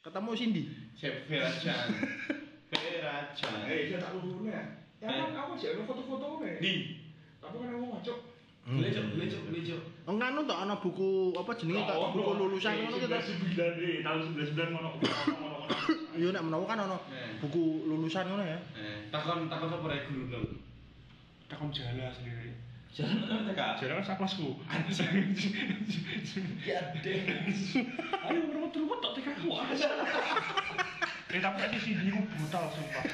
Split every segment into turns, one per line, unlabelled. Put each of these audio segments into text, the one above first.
Ketemu Cindy.
Chef Vera Chan. Vera Chan.
Eh, saya tak lulu nih. Ya kan aku sih ada foto-foto nih.
Di.
Tapi kan aku ngajak.
Beli cok, beli cok, beli cok.
Enggak nu tok ana buku apa jenenge tak
Oh,
buku lulusan ngono
kita.
kita.
Iya,
Sembilan deh, tahun sembilan sembilan ngono.
Yo nek menawa kan ana
Nah.
buku lulusan ngono ya.
Eh, takon takon apa rek guru nang.
Takon jala sendiri.
Jalan nang TK.
Jala kan saklasku.
Iya,
Ya deh.
Ayo menurut rumah tak tega aku aja. Eh tapi tadi si Diego brutal sumpah.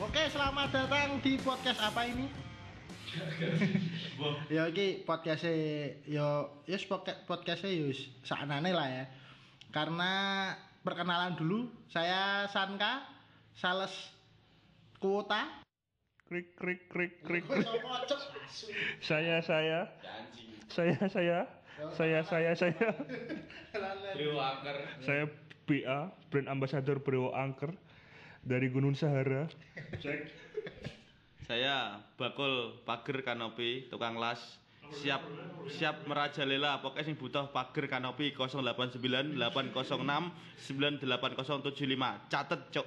Oke, selamat datang di podcast apa ini?
Wah,
Ya iki ya, podcast yo yes podcast podcast yo ya saknane lah ya. Karena perkenalan dulu, saya Sanka sales kuota.
Krik krik krik krik.
Sopo, Cok? Asu.
Saya saya
Ya, anjing.
saya saya saya saya saya
Lalen.
Trio Angker.
saya BA brand ambassador Brewo Angker dari Gunung Sahara.
Cek.
Saya Bakul Pager Kanopi tukang las siap siap merajalela pokoknya sing butuh pager kanopi 089 806 98075 catet cok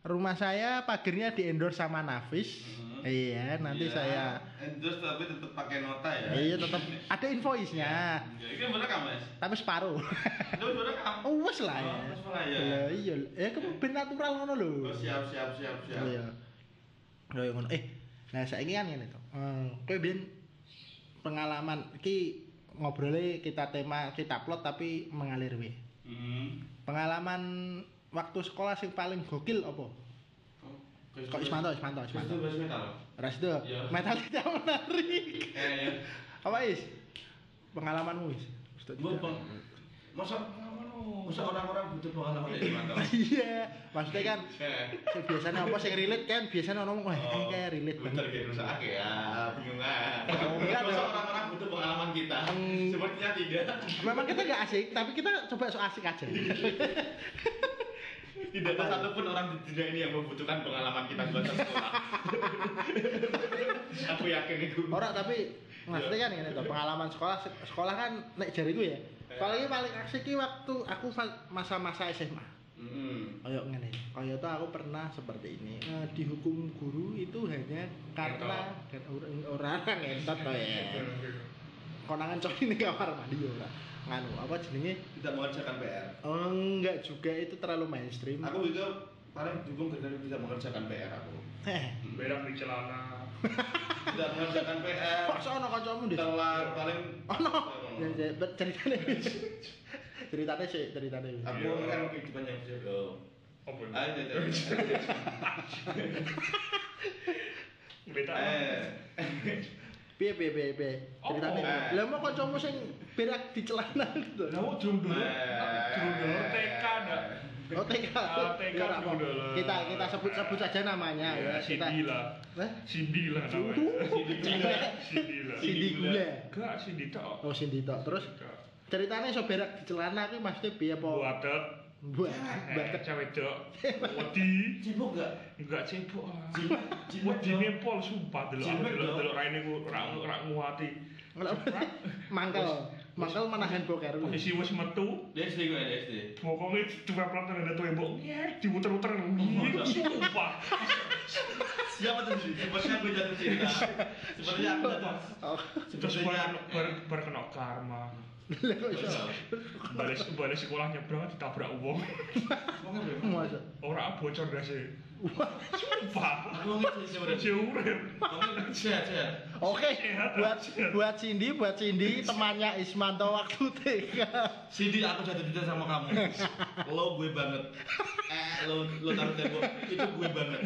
Rumah saya pagernya di endorse sama Nafis. Iya, nanti
Hmm. Iya.
saya
endorse tapi tetap pakai nota ya.
Iya tetap ada invoice-nya.
Ya, Ini bener kan Mas?
Tapi separuh.
Itu bener kan?
Oh, wes lah ya.
Oh, wes lah ya.
Lah, Iya, eh kamu ben natural ngono lho.
Oh, siap siap siap siap.
Iya. Lho ya ngono. Eh, nah saiki kan ngene to. Eh, kowe ben pengalaman iki ngobrolnya kita tema kita plot tapi mengalir weh.
Hmm.
Pengalaman waktu sekolah sing paling gokil apa? Kok Ismanto, Ismanto,
Itu
Ismanto.
bahas metal.
Rasdo,
Iya.
metal tidak menarik.
Eh, ya.
Apa is? Pengalamanmu is? Ustaz
Gua
tidak.
bang. Masa masa orang-orang butuh pengalaman dari Ismanto.
Iya, maksudnya kan
Eh.
sing biasanya apa sing relate kan biasanya ngomong wah
Oh,
kayak relate
Bentar
banget.
kayak rusak ya, bingung ah.
Enggak,
Masa
dong.
orang-orang butuh pengalaman kita?
Hmm.
Sepertinya tidak.
Memang kita gak asik, tapi kita coba sok asik aja.
Tidak ada satupun orang di dunia ini yang membutuhkan pengalaman kita buat sekolah. Aku yakin itu.
Orang tapi maksudnya kan ini tuh pengalaman sekolah sekolah kan naik jariku ya. Paling paling asik ki waktu aku fa- masa-masa SMA.
Hmm.
Kayak ngene. Kayak tuh aku pernah seperti ini. Eh, dihukum guru itu hanya karena dan or- orang ngentot to ya. Konangan cowok ini kamar mandi ora. Nganu apa jenenge?
Tidak mengerjakan PR.
Enggak juga itu terlalu mainstream.
Aku itu paling dukung karena tidak mengerjakan PR aku.
Eh,
Berak di celana.
Tidak mengerjakan PR.
Paksa ono kancamu Dis.
Telat paling.
Ono. Ya, ya, ber- Ceritane wis. Ceritane sih, ceritane wis.
Aku kan kehidupan yang sudah.
Apa ini?
Ayo, ayo, ayo.
Beta.
Eh,
Piye piye piye piye. Ceritane.
Oh,
eh.
Lah mau kancamu sing berak di celana gitu.
Lah aku drum dulu.
Eh.
Drum dulu TK dah.
Oh, TK.
Ah, TK
Ya, nggak apa.
dulu lah.
Kita kita sebut-sebut saja namanya ya.
Ya,
Kita.
Cindy lah.
Hah?
Cindy lah
Dudu.
namanya.
Cewek.
Cindy lah.
Cindy gula.
Enggak Cindy tok.
Oh, Cindy tok. Terus ceritane iso berak di celana kuwi maksudnya piye apa?
Buatet.
Buat.
Eh,
Buat.
cewek dok. Wedi.
sibuk gak?
Enggak cebok lah.
Jimat, jimat,
Wedi nepol sumpah delok. aku,
Jimat,
Delok
dok.
delok raine ku ora ora nguati.
Mangkel. Mangkel menahan boker.
Posisi wis metu,
DSD gue DSD.
Pokoknya dua pelat yang ada tuh yang bau, nyek, dimuter-muter, nyek, sumpah.
Siapa tuh? Sepertinya aku jatuh cinta. Sepertinya aku jatuh.
Oh,
Terus
Sepertinya
bareng
aku-
bareng bareng kena karma.
lha kok iso.
Balik balik sekolah nyebrang ditabrak uang.
Ngomongnya berapa?
Masa.
Orang bocor dah sih. Sumpah.
Aku ngomongnya jadi siapa tuh?
Jurem.
Ngomongnya sehat sehat.
Oke,
Sehat,
buat
sehat.
buat Cindy, buat Cindy temannya Ismanto waktu TK.
Sidi aku jatuh cinta sama kamu. Lo gue banget. Eh lo lo taruh tembok itu gue banget.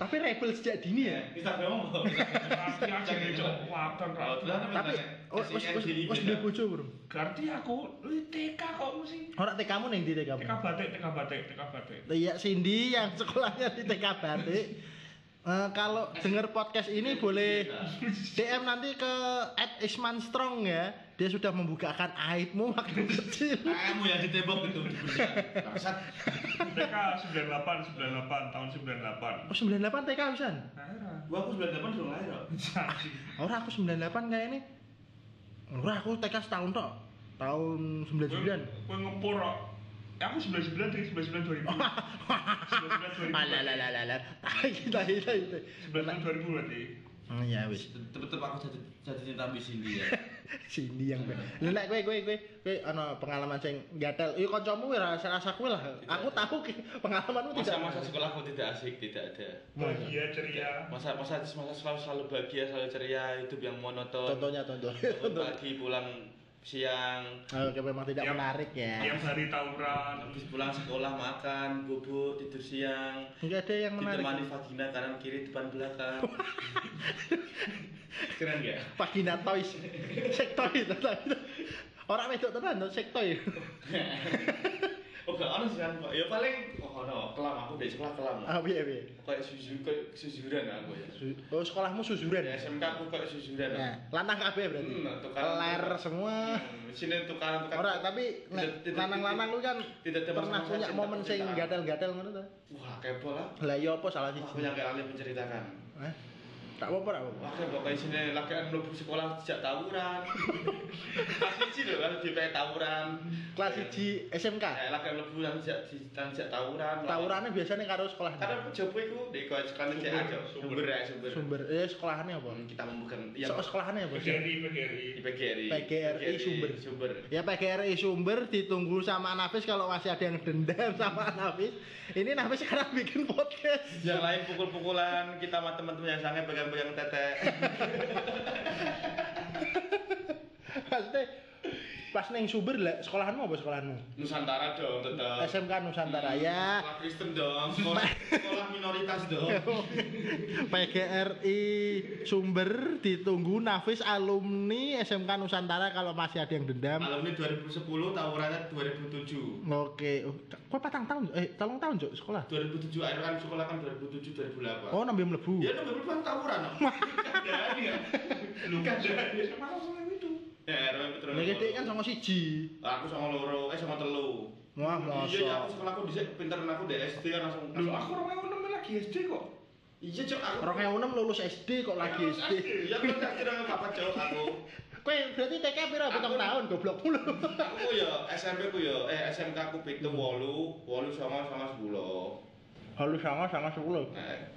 Tapi rebel sejak dini ya.
Instagram apa?
Tapi aja nih cok, wapen
Kalau
lah.
tuh kan
Tapi oh, wis wis
iya,
wis duwe bojo, Bro.
Ganti aku, lu TK kok mesti.
Ora TK-mu ning ndi TK?
TK batik, TK batik, TK batik.
Iya, Cindy yang sekolahnya di TK Batik Eh, kalau denger podcast ini boleh DM nanti ke at Isman Strong ya. Dia sudah membukakan aibmu waktu kecil.
Kamu yang ditembok itu.
Nah,
Bangsat.
TK 98, 98, tahun 98.
Oh 98 TK Hasan.
Heran.
Gua aku 98 sudah lahir. kok.
Janji.
Ora aku 98 kayak ini. Ora aku TK setahun tok. Tahun 99.
Gue ngepur kok. Eh, aku 99 dari 99 2000. 99 2000.
Alalalalalala. Tai tai tai. tai.
99 2000 berarti.
Oh ya wis.
Tetep aku jatuh jatuh cinta ambis India.
Cindy yang gue. Lah lek kowe kowe kowe kowe ana pengalaman sing gatel. Iya kancamu ora rasa kowe lah. Aku tahu ki- pengalamanmu tidak.
Masa-masa sekolahku tidak asik, tidak ada.
Bahagia ceria.
Masa masa masa selalu selalu bahagia, selalu ceria, hidup yang monoton.
Contohnya contoh.
Bangun
Contoh.
pagi pulang siang,
Oke, memang tidak
Tiap-
menarik ya.
Tiap hari tawuran.
habis pulang sekolah makan, bubur, tidur siang.
Enggak ada yang menarik.
Ditemani vagina kanan kiri depan belakang. Keren gak?
Vagina toys. Sek toys. Orang wedok tenan no sek toy.
Oh gak ono sih kan, Pak. Ya paling oh ono, kelam aku di sekolah kelam.
Ah piye piye.
Kayak susu kayak susuran aku ya.
Su- Oh, sekolahmu susuran.
Di
ya?
SMK aku kayak susuran.
Nah, lanang kabeh berarti.
Hmm, tukaran.
Ler semua.
Hmm, Sini tukaran tukaran.
Ora, tapi
Tidak-
nek
tidak-
lanang-lanang lu kan
tidak ada
pernah
masalah
punya
cinta-
momen sing
cintaan.
gatel-gatel ngono ta?
Wah, kepo lah.
Lah ya apa salah siji?
Aku Oh, yang gak alih menceritakan.
Hah? Eh? Tak apa-apa, tak apa-apa.
Wah, pokoknya sini lakian mlebu sekolah sejak tawuran. Kelas siji lho kan di kayak tawuran.
Kelas 1 SMK.
Eh, lakian mlebu yang sejak di yang sejak tawuran.
Tawurannya biasanya karo sekolah.
Karena aku jopo iku di sekolah sekolah cek aja. Sumber ya sumber.
Sumber eh sekolahannya apa?
Hmm, Kita membuka ya
So, sekolahannya apa?
PGRI, PGRI.
di PGRI.
PGRI sumber.
Sumber.
Ya PGRI sumber ditunggu sama Nafis kalau masih ada yang dendam sama Nafis. Ini Nafis sekarang bikin podcast.
Yang lain pukul-pukulan, kita sama teman-teman yang sange pegang-pegang tete.
Maksudnya pas neng sumber lah sekolahanmu apa sekolahanmu?
Nusantara dong tetap.
SMK Eh, Nusantara
hmm.
ya.
Sekolah Kristen dong, sekolah, sekolah minoritas dong.
PGRI Sumber ditunggu Nafis alumni SMK Nusantara kalau masih ada yang dendam.
Alumni 2010, tawurannya 2007.
Oke, Oh, kok patang tahun? Eh, tolong tahun Jok, sekolah.
2007 akhir kan sekolah kan 2007 2008.
Oh, nembe
Ya
mlebu.
nomor berapa kan tawuran. Kadani ya.
Lu kan sama sama itu.
Ya, RW Petro.
Nek dhek kan songo siji.
Aku sama loro, eh sama telu.
Wah,
Iya, ya, aku
masa.
sekolah aku dhisik pinteran aku di SD kan langsung.
Lu aku orang yang nemen lagi SD kok.
Iya, Cok, aku.
2006 lulus SD kok lagi
Lulus
SD.
SD.
Iya, kan tak kira apa Cok aku.
Kowe berarti TK pira
Aku-
pitung tahun goblok mulu.
Aku ya SMP ku ya, eh SMK aku 7 8, 8 sama sama 10.
Halu sanga sanga 10.
Nah,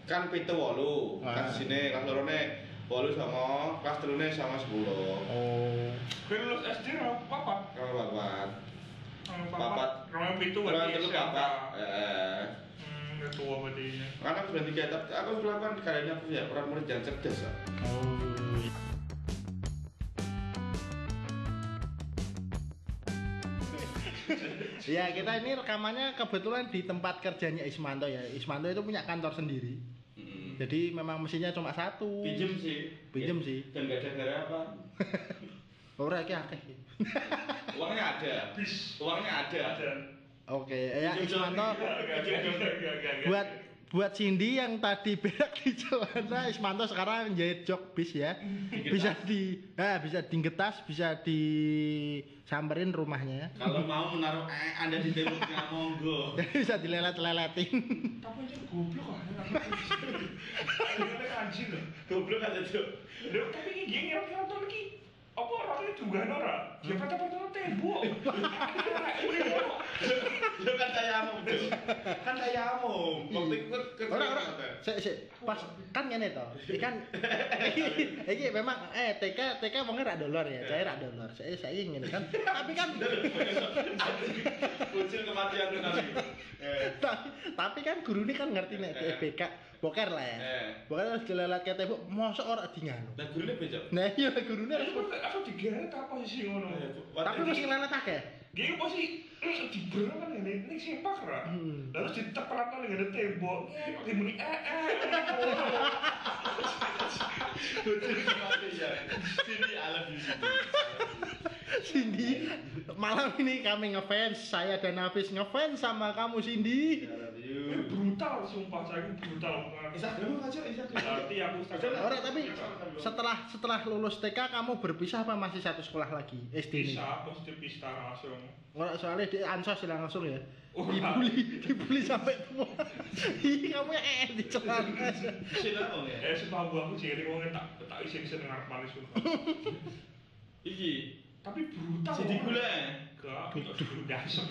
kan pitu wolu
Ah.
kelas sini kelas loro ne wolu sama kelas telu ne sama sepuluh
Oh.
Gue lulus SD orang papat.
kalau papat
Orang
Papat.
Papat. Orang Hmm, yang itu
kalau
berarti
telu
SMK.
papat eh
Hmm, udah tua berarti.
kan aku sudah tiga tapi aku sudah kan kali ini aku ya orang murid yang cerdas lah
Oh. Ya kita ini rekamannya kebetulan di tempat kerjanya Ismanto ya. Ismanto itu punya kantor sendiri.
Hmm.
Mm.
Jadi memang mesinnya cuma satu.
pinjem Iya. sih
Pinjem sih.
dan gak ada gara apa
Ora iki akeh.
uangnya ada
Bis.
uangnya ada
Ada.
Oke, ya
Pinjem dong.
Ismanto
Gak, gak, gak, gak, gak, gak, gak.
buat buat Cindy yang tadi berak di celana Ismanto sekarang jahit jok bis ya. Bisa di ah, bisa digetas, bisa disamperin rumahnya. ya.
kalau mau menaruh eh, anda di temboknya monggo
Jadi bisa dilelet-leletin.
Tapi aja goblok lah. Ada anjing loh.
goblok aja tuh
Lho, tapi ini dia ngerti nonton lagi apa orangnya juga Nora? Ya pada pertama tembok. gitu.
lu kan saya amom Cuk. kan saya amom waktu itu ke-
Ora ora. Sik sik. Pas kan ngene to. Iki kan iki- iki memang eh TK TK wong ora dolor ya. Saya ora dolor. Saya saya ngene kan. Tapi kan
kucil kematian tuh nanti Eh,
tapi, tapi kan guru ini kan ngerti nek BK boker lah ya.
eh
Boker harus dilelet ke tembok, mosok ora dinganu.
Nah, gurine beda.
Nah iya gurune harus
Aku aku digerak tak posisi ngono.
tapi mesti lelet akeh.
Dia posisi eh, digerak kan ini ini sempak ra.
Hmm.
Lalu ditepelan kan dengan tembok. Dimuni eh eh.
Sini alam di situ.
Cindy, malam ini kami ngefans, saya dan Hafiz ngefans sama kamu Cindy.
I love you.
brutal sumpah saya ini brutal banget.
Instagram pacar Instagram.
Berarti aku
Ora tapi setelah setelah lulus TK kamu berpisah apa masih satu sekolah lagi SD ini?
bisa pasti pista langsung.
Ora soalnya di ansos ya langsung ya.
Ora.
Dibully, dibully sampai tua. Ih, kamu ya eh dicela.
Sila kok ya.
Eh sumpah gua aku jadi wong tak tak isin isin ngarep manis sumpah.
Iki.
Tapi brutal.
Jadi
Wong.
gula.
Gak, itu dasar.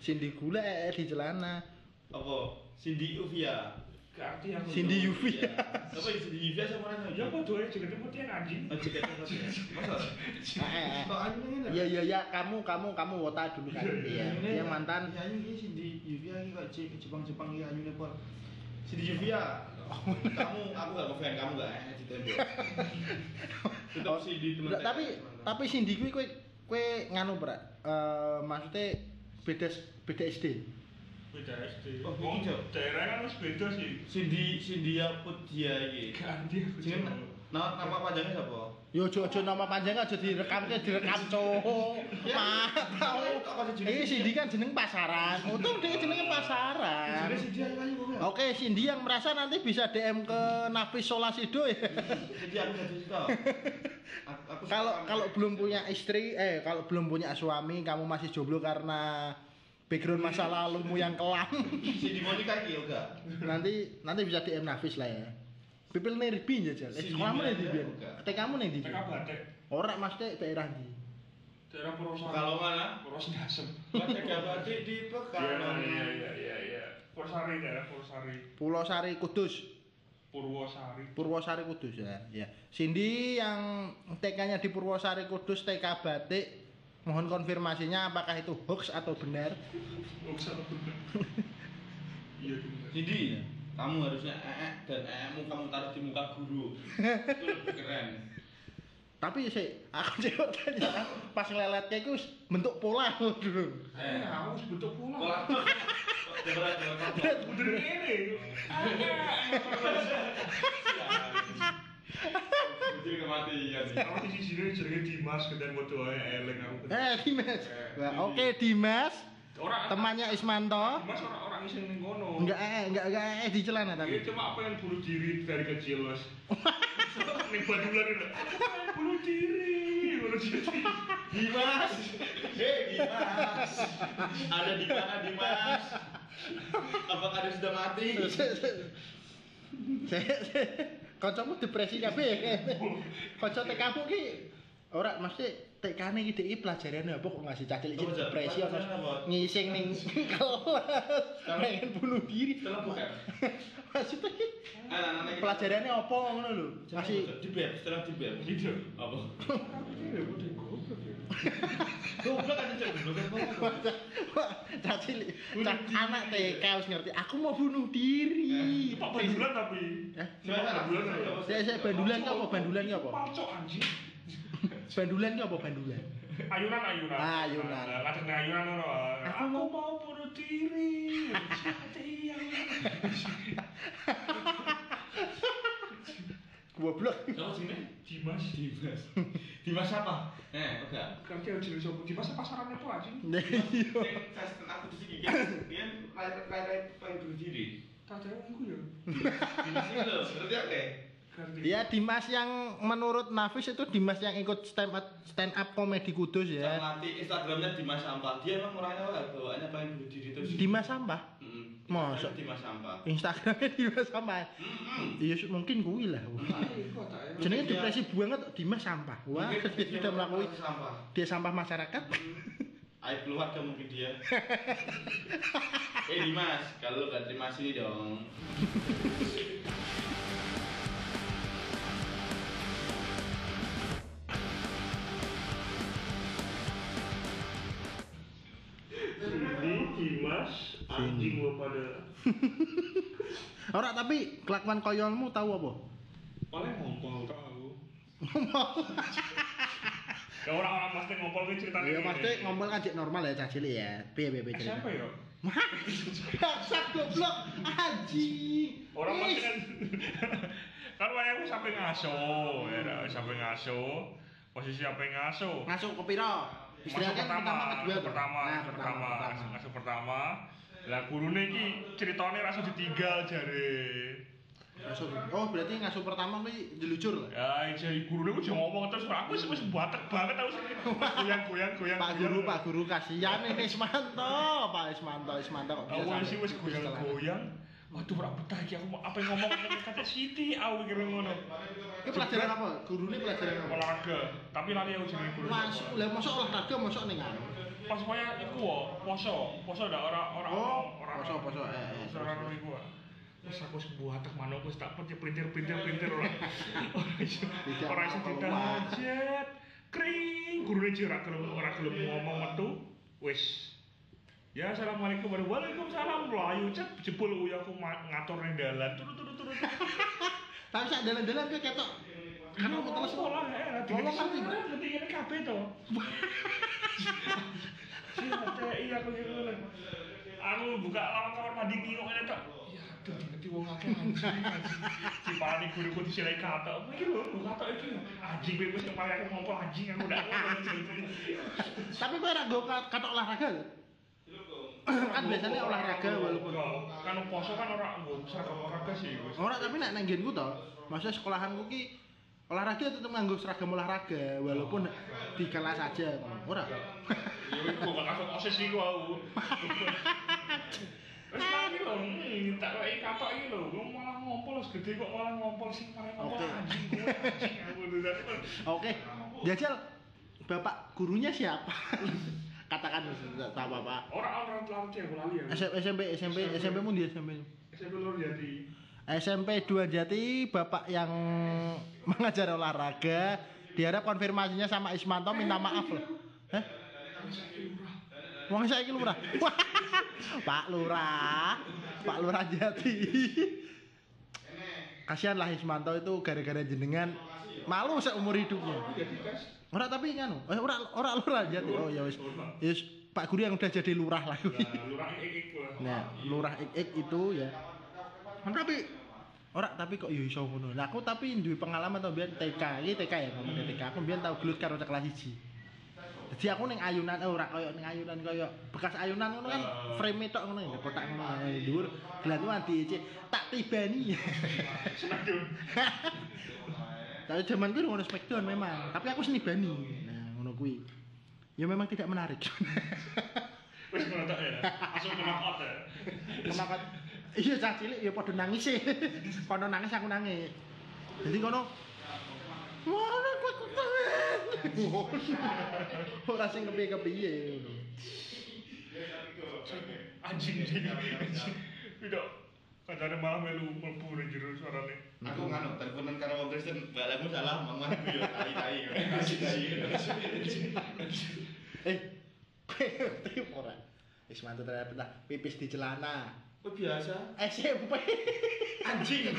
Cindy gula eh di celana.
Apa? Cindy Uvia.
Gak ngerti aku.
Cindy
Iya.
Uvia.
Apa yang Cindy Uvia sama Rana?
Ya kok doanya juga putih anjing.
Oh, jika tetap ya. Masalah.
Eh, eh, eh.
Kok aneh kan?
Iya iya iya, kamu kamu kamu wota dulu kan. Iya, dia mantan.
Ya ini Cindy Uvia ini kok Cek Jepang Jepang ya ini Nepal. Cindy Uvia. Kamu aku gak ngefan kamu gak eh ditembak. Tetap Cindy teman.
Oh, Nggak, tapi tapi Cindy kuwi kowe kowe nganu pra. Eh maksudnya beda beda SD.
Beda SD.
Oh,
Wong
iki, Jok.
daerah kan harus beda sih.
Cindy Cindy apa dia ini?
Gak ngerti aku.
Jenenge
Jok.
nama nama panjangnya siapa?
Yo Ya ojo ojo nama panjang aja direkam ke direkam cowok. Mata. Ini Cindy kan jeneng pasaran. Untung dia jenenge pasaran.
Cindy ayo ayo kok.
Oke, Cindy yang merasa nanti bisa DM ke Nafis Solasido ya.
Cindy aku gak suka. Aku- aku suka
Kalau
kamu.
kalau belum punya istri, eh kalau belum punya suami, kamu masih jomblo karena background masa lalumu yang kelam.
Cindy Monica iki ya, yo gak.
nanti nanti bisa DM Nafis lah ya. Pipil nerbi aja. Eh,
Cindy
sekolahmu nih di
Miranda
biar.
buka.
Teh kamu nih di.
Teka batek.
Ora Mas Teh daerah di.
Daerah Purwosono.
Kalau nah. mana?
Poros Dasem.
Baca gambar di di
Iya
Pekalongan.
iya iya iya iya. Pursari daerah Pursari.
Pulau Sari Kudus.
Purwosari.
Purwosari Kudus ya. Ya. Cindy yang TK-nya di Purwosari Kudus TK Batik. Mohon konfirmasinya apakah itu hoax atau benar?
Oh, kesana bener. Iya bener.
Jadi kamu harusnya ee dan eemu kamu taruh di muka guru. Itu lebih keren.
Tapi sih, aku cewek tanya pas ngeleletnya itu bentuk pola loh dulu.
Eh,
Eh, aku harus bentuk
Pola.
pula.
Coba coba.
Bener ini.
Jadi kematian.
Kalau di sini jenenge Dimas keten bodoh ae eling aku.
Eh Dimas, Wah, oke Dimas,
Orang
temannya Ismanto.
Dimas orang-orang iseng ning kono.
Enggak eh enggak enggak eh di celana
Iya
tapi.
cuma aku yang bunuh diri dari kecil mas. Nih buat bulan ini. Aku yang bunuh diri, bunuh diri.
Dimas. Hei Dimas. Ada di mana Dimas? Apakah dia sudah mati?
Kancamu depresi kabeh ya. Kanca TK-mu ki ora mesti TK-ne iki dhek pelajaran apa kok ngasih cacil iki
Apa, Cak?
depresi apa
Pelajaran apa?
ngising ning kelas.
Kalau-
Pengen bunuh diri.
Telah buka.
Maksudnya ki
Anak-anak kita-
pelajarannya apa ngono lho? Masih
di bed, setelah di bed.
Gitu.
Apa?
Tapi ini aku udah goblok ya.
Goblok kan cek goblok kan goblok.
Wah, cacil Cak- anak TK harus ngerti. Aku mau bunuh diri.
Eh,
Pak Bandulan tapi.
Hah?
Gimana?
Bandulan ya.
Saya saya Eh, bandulan ki apa bandulan ki apa?
Pacok anjing.
Bandulan ki apa bandulan?
Ayunan ayunan.
Ah, ayunan.
Nah, kadang ayunan ngono.
Aku
Aku
mau-
mau bunuh diri. Mati aku.
Goblok.
Apa sih Nek?
Dimas.
Dimas. Dimas apa? Eh, enggak.
Kan dia jenis apa? Dimas apa pasaran itu anjing.
Nah, iya.
Yang Kristen aku di sini kan, dia lain-lain pakai berdiri.
Tak ada yang aku ya.
Dimas ini loh, ngerti oke?
Ganti.
Ya Dimas yang menurut Nafis itu Dimas yang ikut stand up, stand up komedi Kudus ya.
Saya nanti Instagramnya Dimas Sampah. Dia emang orangnya lah, bawaannya pakai berdiri terus.
Dimas sampah.
Mm,
Masa?
Instagramnya Dimas Sampah.
Instagramnya Dimas sampah.
Mm-mm.
Iya mungkin kuwi lah.
Kok tak ada?
Jenenge
Mungkin dia-
depresi banget Dimas sampah. Wah,
Mungkin
dia
dia
sudah
orang
melakukan
sampah.
dia sampah masyarakat.
Aib keluarga mungkin dia. eh Dimas, kalau lu gak terima sini dong.
Cindy, Dimas, anjing lo pada
Ora tapi kelakuan koyolmu tahu apa?
Paling ngompol tau aku Ya orang-orang pasti ngompol ini ceritanya
Ya
gini.
pasti ngomong kan cek normal ya cacil ya. Piye piye piye.
Eh,
cerita.
Iya, Siapa ya?
Bangsat goblok anjing. Is.
Orang pasti kan Kan wayang aku sampai ngaso ya dah, Sampai ngaso Posisi sampai ngaso
masuk ke piro?
Masuk
Istilahnya kan
pertama
kedua tuh.
pertama
Nah,
pertama
pertama.
Masuk pertama Lah gurune iki ceritane langsung ditinggal jare.
Ngasuh. Oh, berarti ngasuh pertama kuwi jelujur lah.
Ya jare gurune ku jangan ngomong terus aku wis wis batek banget aku goyang goyang goyang.
Pak Guru, Pak Guru kasihan nih Ismanto, Pak Ismanto, Ismanto kok bisa
Aku
sampai
sih wis
tipis
goyang
telan.
goyang. Waduh ora betah iki aku mau- apa yang ngomong kata Siti aku kira ngono.
Ini pelajaran apa? Guru ini pelajaran apa?
Olahraga, tapi lari aku jenenge guru.
Masuk, lah masuk olahraga, masuk nih kan?
Pas pokoknya iku wo, poso, poso ndak ora ora
Oh,
ora
poso, poso, eh, eh,
Poso ora
terus,
ono iku. wo. Terus aku sebuah tak manuk wis tak petir petir petir petir ora. Ora iso.
Tidak
Ora iso
mau keluar.
ditajet. Kring, gurune jek ora gelem ora gelem ngomong metu. Wis. Ya assalamualaikum warahmatullahi wabarakatuh. Melayu cet jebul uya aku ma- ngatur ning dalan. Turu turu turu.
Tapi saya dalan-dalan kayak ketok. Kan aku terus
Iya, lah, eh, lah,
Tolong ngerti.
dikira- ngertiin kabeh to. Iya, Teh, iya, aku gitu loh. Aku buka lawang kamar mandi ngingok ngene tok. Ya, aduh, ngerti wong akeh anjing. Dipani guruku disilai katok. Apa iki lho, lho, katok iki. Anjing kowe wis kepala aku ngompol anjing aku ndak ngono.
Tapi gue ragu ketok olahraga lho. Kan biasanya olahraga walaupun
kan poso kan ora nggo seragam olahraga sih wis.
Ora tapi nek nang nggenku to, maksudnya sekolahanku ki olahraga tetep nganggo seragam olahraga walaupun di kelas aja ngono. Ora.
Ya wis kok aku osis iku aku. Wis lagi lho, hmm, tak kok katok iki lho, gua malah ngompol segede kok malah ngompol sing malah ngompol
Oke.
anjing kowe anjing aku lho.
Oke. Jajal Bapak gurunya siapa? Katakan tak tahu apa.
Ora ora lari aku lali ya.
S- SMP SMP SMP mu di SMP.
SMP lur jadi.
SMP 2 Jati Bapak yang mengajar olahraga diharap konfirmasinya sama Ismanto minta maaf loh. Hah? Wong saya iki lurah. Wah, Pak Lurah, Pak Lurah Jati. Kasihan lah Ismanto itu gara-gara jenengan malu seumur hidupnya. Ora tapi nganu, eh, ora ora lurah Jati. Oh ya wis. Yes, Pak Guru yang udah jadi lurah lah. kuwi.
Lurah iki iku.
Nah, lurah ik itu ya. Kan tapi ora tapi kok yo iso ngono. Lah aku tapi duwe pengalaman tau biyen TK, iki TK ya ngomongnya TK. Aku biyen tau gelut karo kelas 1. Jadi aku ning ayunan eh, ora koyo ning ayunan koyo bekas ayunan ngono kan frame tok ngono ya kotak ngono ya, dhuwur gelantuan diece tak tibani. tapi zaman kuwi ngono spekdown memang, tapi aku seni bani. Nah, ngono kuwi. Ya memang tidak menarik.
Wis ngono tok ya. Langsung kena out ya.
Kenapa? Iya cah cilik ya padha nangis sih. Kono nangis aku nangis. Jadi kono Wah, kok kok. Ora sing kepiye-kepiye ngono.
Anjing anjing. anjing. Tidak. Kadang malah melu mlebu ning jero suarane.
Aku nganu, teleponan karo wong Kristen, balamu salah, mangan aku yo tai-tai. ya,
Eh. Ngerti ora? Wis mantep ternyata dah, pipis di celana.
Kok biasa?
SMP.
Anjing.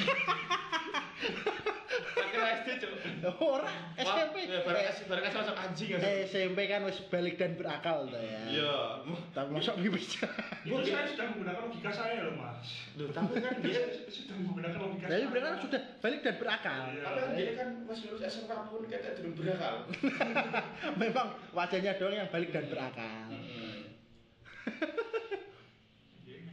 Akhir SD, Cuk. ya,
Ora SMP.
Barang barang masuk anjing ya.
ya? Eh, SMP kan wis balik dan berakal to ya.
Iya.
Tapi masuk pipis.
Itu saya sudah menggunakan logika saya loh mas.
Gitu Loh, tapi kan dia
Saya sudah menggunakan logika
Tapi
saya.
mereka kan sudah balik dan berakal.
Iya.
Tapi kan dia kan pas lulus SMA pun kayaknya belum berakal.
Memang wajahnya doang yang balik dan berakal.
Hmm.
Iya,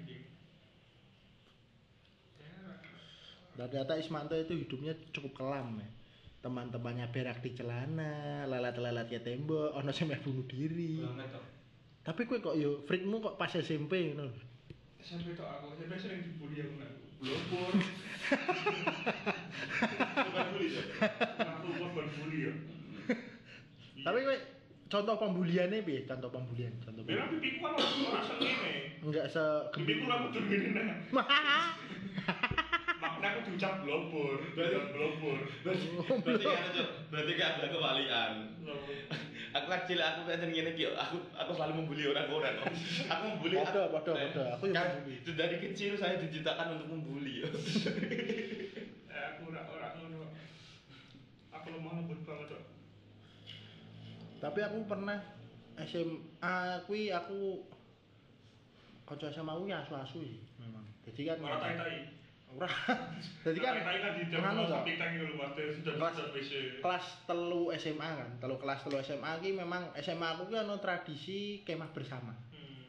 Ternyata Ismanto itu hidupnya cukup kelam ya. Teman-temannya berak di celana, lalat-lalatnya tembok, ono sing meh bunuh diri.
Hmm.
Tapi kue kok yo freakmu kok pas SMP ngono.
SMP itu aku, SMP sering dibully aku nggak.
Blopor.
Aku korban bully ya.
Tapi kue contoh pembuliannya piye? Contoh pembulian, contoh
Bila
pembulian.
pipiku kan orang orang sengene.
Enggak se
Pipiku aku tuh gini nah. Makna aku diucap blobor, diucap blobor.
Berarti kan Cuk. Berarti kan ada kewalian. Aku kan cilik aku pengen ngene iki aku aku selalu membuli orang-orang. Aku membuli.
Padha, padha, padha. Aku yang
Kan,
membuli.
Dari kecil saya diciptakan untuk membuli.
Eh, aku orang orang ngono. Aku lemah lembut banget kok.
Tapi aku pernah SMA kuwi aku kanca SMA aku ya asu-asu ya, memang. Jadi kan
Orang tai tai.
Ora. Jadi kan
tai kan di
nganu,
dalam
Cok.
sapi tangi lu pasti sudah
Kelas.
bisa PC.
kelas telu SMA kan, telu kelas telu SMA ki memang SMA aku ki ono tradisi kemah bersama.
Hmm.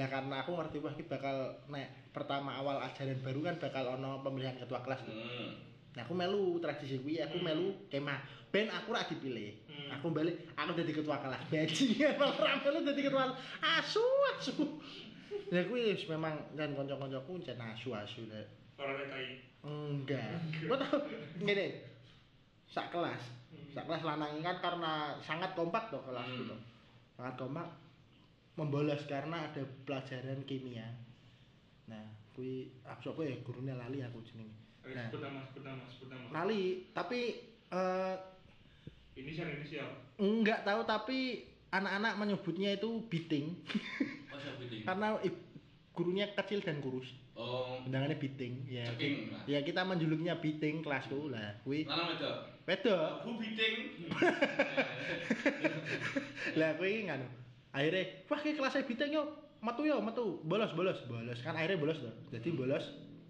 Lah karena aku ngerti wah iki bakal nek pertama awal ajaran baru kan bakal ono pemilihan ketua kelas.
Hmm.
Nah aku melu tradisi kuwi, aku
Hmm.
melu kemah. Ben aku ra dipilih.
Hmm.
Aku balik, aku jadi ketua kelas. Bajingan malah ra melu jadi ketua. kelas. Asu asu. Ya kuwi wis memang kan kanca-kancaku jan asu-asu Dek.
Orang TKI.
Enggak. Gua tau ngene. Sak kelas. Sak kelas lanang kan karena sangat kompak tuh kelas
Hmm.
gitu. Sangat kompak membolos karena ada pelajaran kimia. Nah, kui aku sapa ya gurune lali aku jenenge.
Ayo,
Nah.
sebut nama, sebut nama, sebut nama.
Lali, tapi eh
Inisial, inisial.
enggak tahu tapi anak-anak menyebutnya itu biting
Oh, siapa itu?
karena i- gurunya kecil dan kurus.
Oh,
Undangannya biting ya.
Ceking, Mas.
Ya kita menjuluknya biting kelasku lah. Kui
Lanang itu.
wedok.
Aku biting.
lah aku ini nganu akhirnya wah ke kelasnya bintang yo metu yo metu bolos bolos bolos kan akhirnya bolos tuh jadi bolos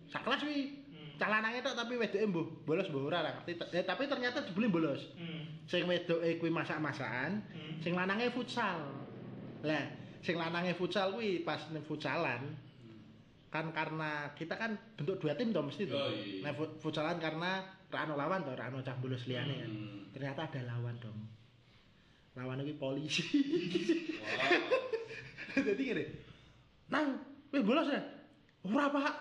sak kelas wi cah lanangnya tok tapi wedok embo bolos bo ora lah ngerti eh, tapi ternyata jebule bolos
Hmm.
sing wedok e kuwi masak-masakan
Hmm.
sing lanangnya futsal lah sing lanangnya futsal kuwi pas ning futsalan kan karena kita kan bentuk dua tim toh mesti tuh
Oh, iya.
nah fu- futsalan karena rano lawan toh rano cah bolos liane kan
Hmm.
ternyata ada lawan dong lawan itu polisi jadi gini nang weh bolos ya ora pak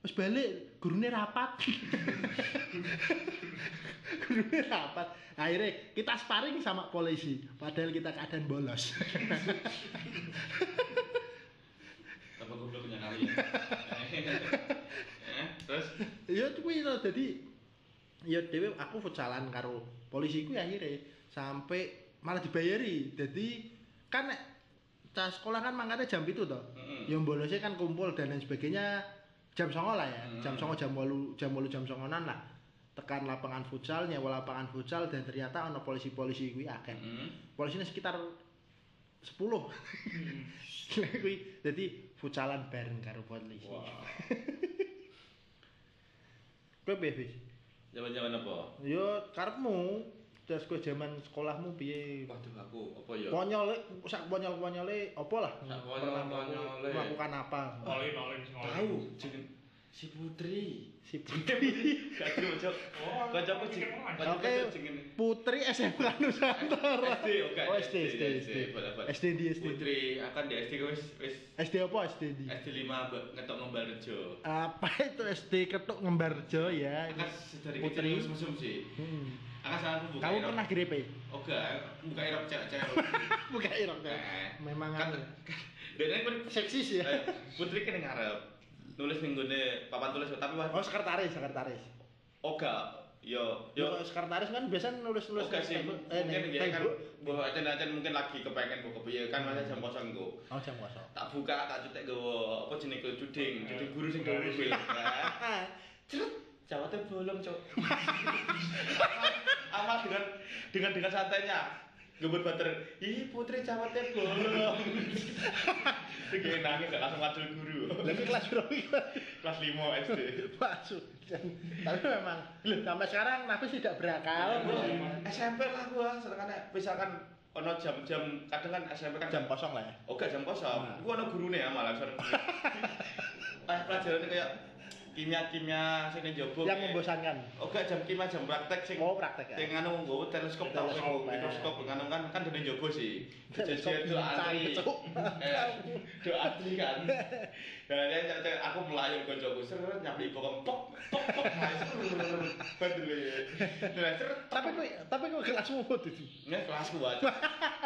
terus balik gurune rapat gurune rapat akhirnya kita sparring sama polisi padahal kita keadaan bolos
Tapi aku belum punya kali ya. Eh, Terus?
ya kuwi to dadi ya dhewe aku futsalan karo polisi kuwi akhirnya sampai malah dibayari jadi kan nek cah sekolah kan mangkatnya jam itu toh
Mm-mm.
yang bolosnya kan kumpul dan lain sebagainya jam songo lah ya
Mm.
jam songo jam walu jam walu jam songonan lah tekan lapangan futsal nyewa lapangan futsal dan ternyata ono polisi-polisi kuwi akeh
Hmm.
polisinya sekitar 10 kuwi jadi futsalan bareng karo polisi
Wah.
kowe piye Fis?
Jaman-jaman apa?
Yo karepmu terus kowe zaman sekolahmu piye?
Waduh aku apa ya?
Konyol sak konyol-konyole apa lah? Pernah
Sak
melaku-
konyol-konyole.
melakukan apa?
Olin, olin, olin.
Tahu jeneng si Putri.
Si
Gak tau cok.
Oh,
Kocokku
pikir
jeneng.
orang.
Kocokku
Oke.
jeneng.
Putri SMK Nusantara.
SD, oke.
Oh, SD, SD, SD.
Bola-bola.
SD di SD.
Putri akan di SD wis wis
SD apa SD di?
SD 5 Mbak ngetok ngembar rejo.
Apa itu SD Ketuk Ngembarjo ya?
Akan Kan dari
Putri.
kecil wis mesum sih.
Hmm.
Akan salah aku buka.
Kamu
irok.
pernah grepe?
Oke, Oh, buka irok cewek-cewek.
Buka irong ya.
Eh.
Memang
Kan
anu.
dan ini pun
seksis ya.
Eh, Putri kan yang ngarep nulis ning nggone papan tulis tapi wah
Oh sekretaris, sekretaris.
oga yo
Yo
yo
sekretaris kan biasa nulis-nulis
oga sih
tembok- eh, nih,
mungkin ya kan
tembok.
mbok acen-acen mungkin lagi kepengen kok kepiye kan masa jam kosong kok
Oh jam kosong.
tak buka tak cetek gowo apa jenenge kuwi, cuding cuding guru sing gawe kuwi
Ah,
cerut jawabnya bolong cok amat dengan dengan dengan santainya gebut bater ih putri jawabnya bolong Dia nangis gak langsung ngajul guru
lebih kelas berapa?
kelas 5 SD
Pak Sudan. Tapi memang loh, sampai sekarang Nafis tidak berakal.
SMP lah gua sedangkan misalkan ono jam-jam kadang kan SMP kan
Jam kosong lah ya.
Oke jam kosong.
Nah.
Iku ana gurune ya malah sono. Eh pelajarannya kayak kimia-kimia sing ning njaba.
Yang membosankan.
Oke jam kimia jam praktek sing
Oh, praktek ya?
Sing anu nggowo teleskop tau sing
Teleskop, ya.
teleskop kan kan kan dene njaba sih.
Teleskop
Jajan do
bintang,
antri.
cuk.
Eh, Do antri kan. Dan dia- dia- dia- aku melayu kancaku seret nyapli bokong pok pok pok. Bandel. Terus seret.
Tapi kok tapi kok kelasmu bodoh sih.
Ini kelasku aja.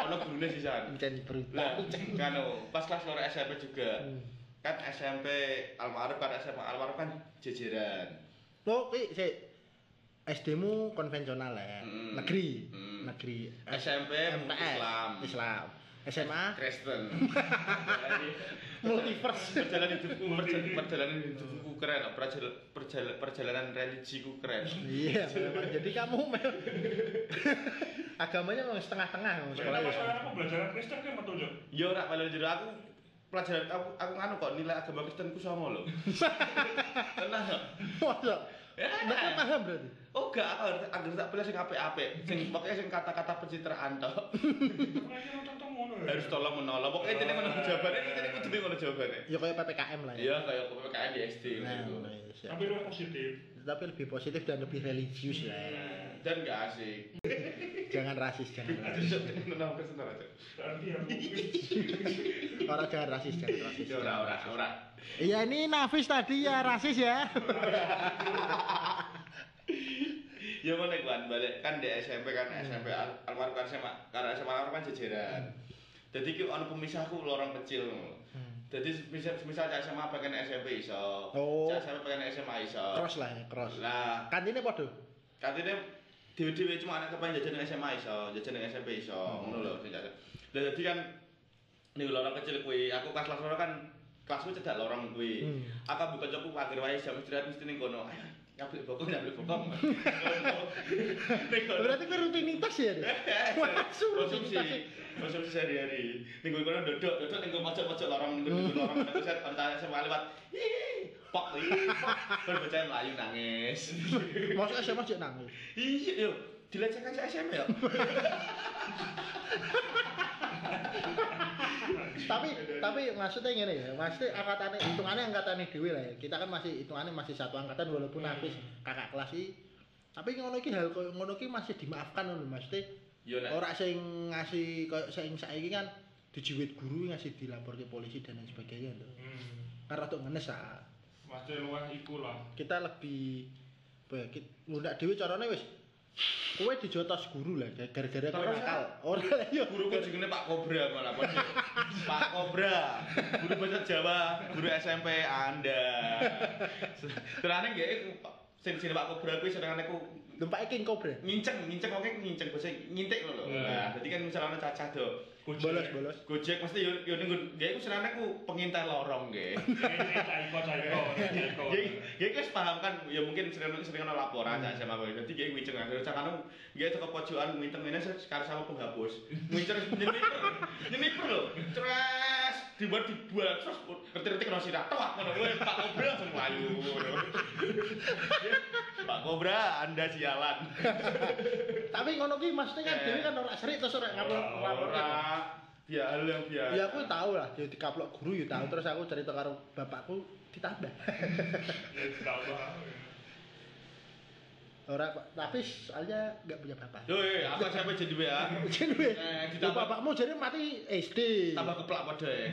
Ono gurune sisan.
Mencari
Lah,
berita.
kan oh, pas kelas loro SMP juga.
Hmm.
Kan SMP almarhum kan SMA almarhum kan jejeran.
Lo ki sik SD-mu konvensional lah ya.
Hmm.
Negeri.
Hmm.
Negeri.
SMP
MTS,
Islam.
Islam. SMA
Kristen.
multiverse.
perjalanan hidupku perjalanan, perjalanan hidupku keren loh. perjalanan perjalanan, perjalanan religiku keren
Iya, memang. Jadi kamu memang agamanya memang setengah-tengah kamu sekolah. ya.
Ternyata pas orang aku belajar Kristen kan betul Jok.
yo Ya ora paling jero aku pelajaran aku aku nganu kok nilai agama Kristenku sama lho tenang loh
Masa?
Eh.
Mereka paham berarti.
Oh gak, aku harus- agar tak pilih sing apik-apik. Sing
Hmm.
pokoknya sing kata-kata pencitraan tok. Harus tolong menolong. Pokoknya jenenge ngono jawabane, jenenge kudu ngono jawabane.
Ya kayak PPKM lah ya.
Iya, kayak PPKM di SD
Nah,
gitu.
iya, siap.
Tapi lu positif.
Tapi lebih positif dan lebih religius lah. ya.
Dan gak asik.
Jangan rasis, jangan rasis.
Kenapa kesenar aja?
Berarti ya.
Orang jangan rasis, jangan rasis.
Ya ora ora ora.
Iya ini Nafis tadi ya rasis ya.
Ya mana kan balik kan di SMP kan SMP al- almarhum kan SMA karena SMA almarhum kan
Hmm.
jejeran. Jadi ki ono pemisahku lorong kecil. Jadi misal misal cak SMA pengen SMP iso.
Oh.
Cak SMA pengen SMA iso.
Cross lah ya, cross.
Lah
Kantinnya podo.
katanya dewe-dewe cuma anak kepengen jajan nang SMA iso, jajan nang SMP iso,
Hmm.
ngono lho sing jajan. Lah dadi kan ning lorong kecil kuwi, aku kelas kelas loro kan kelasku cedak lorong kuwi.
Hmm.
Aku buka cokku pager wae jam istirahat mesti ning kono. Ayo, Nyabrik bokong, nyabrik bokong. Ning kono.
Berarti kan rutinitas ya. Dit? Masuk rutinitas.
konsumsi konsumsi sehari-hari minggu kono dodok dodok minggu pojok-pojok lorong minggu duduk lorong terus saya percaya sama lewat "Ih, pok ih, pok." Terus bocah melayu nangis
Masuk SMA cek nangis.
iya yo dilecehkan saya SMP ya
tapi tapi maksudnya gini ya maksudnya angkatannya hitungannya angkatannya dewi lah ya kita kan masih hitungannya masih satu angkatan walaupun habis kakak kelas sih tapi ngono iki hal koyo ngono iki masih dimaafkan loh maksudnya
yo nek
orang sing ngasih koyo sing saiki kan dijiwit guru ngasih dilapor ke polisi dan lain sebagainya tuh karena tuh ngenes ah.
Pasti luah iku lah.
kita lebih baik ngundak dewi caranya wis kowe dijotos guru lah gara-gara kowe
Terus,
nakal ora yo
guruku jenenge Pak Kobra malah Pak. Pak Kobra guru bahasa Jawa guru SMP Anda terane nggih sing sing Pak Kobra kuwi senengane ku
lempake king cobra
nginceng nginceng oke nginceng bahasa ngintik lho lho.
Hmm.
nah jadi kan misalnya ana cacah do
bolos bolos
Gojek mesti yo yo ning nggih ku senengane ku pengintai lorong nggih
Caiko, caiko, caiko.
Oh.
Gak guys paham kan, ya mungkin sering sering ada
Hmm.
laporan aja sama gue. Nanti gak winceng akhirnya nah, cak kanu gak ke pojokan winceng ini sekarang sama penghapus. Winceng nyeniper, nyeniper loh. Ceres dibuat dibuat terus ngerti-ngerti kena sirat toh. Mana gue Pak Kobra langsung melayu. Pak Kobra, anda sialan.
tapi ngono ki maksudnya kan
Eh.
dewi kan orang serik terus orang ngaplok ngaplok
Ora, biar hal yang biasa.
ya aku tahu lah dia dikaplok guru ya
Hmm.
tahu terus aku cerita karo bapakku ditambah
Ya, ditambah.
orang tapi soalnya nggak punya bapak
Doi, aku sampai jadi ya.
jadi
Eh,
ya,
ditambah
bapakmu jadi mati SD
tambah keplak pada ya.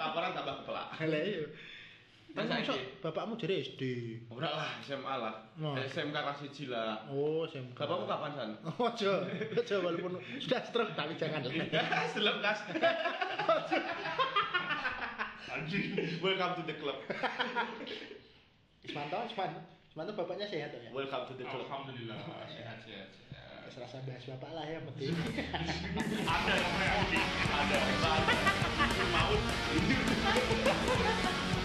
Laporan tambah keplak.
Lah iya. Kan
Masa
masa
SD?
bapakmu jadi SD.
Ora lah SMA lah.
Wah.
SMK kelas 1 lah.
Oh, SMK.
Bapakmu kapan san?
Ojo, ojo walaupun sudah stroke tapi jangan lah.
Seleb kas.
Anjing.
Welcome to the club.
Mantap, mantap. Mantap bapaknya sehat ya.
Welcome to the club.
Alhamdulillah.
Sehat sehat. sehat.
Serasa bahas bapak lah ya penting.
Ada yang mau yang ini. Ada. Maut.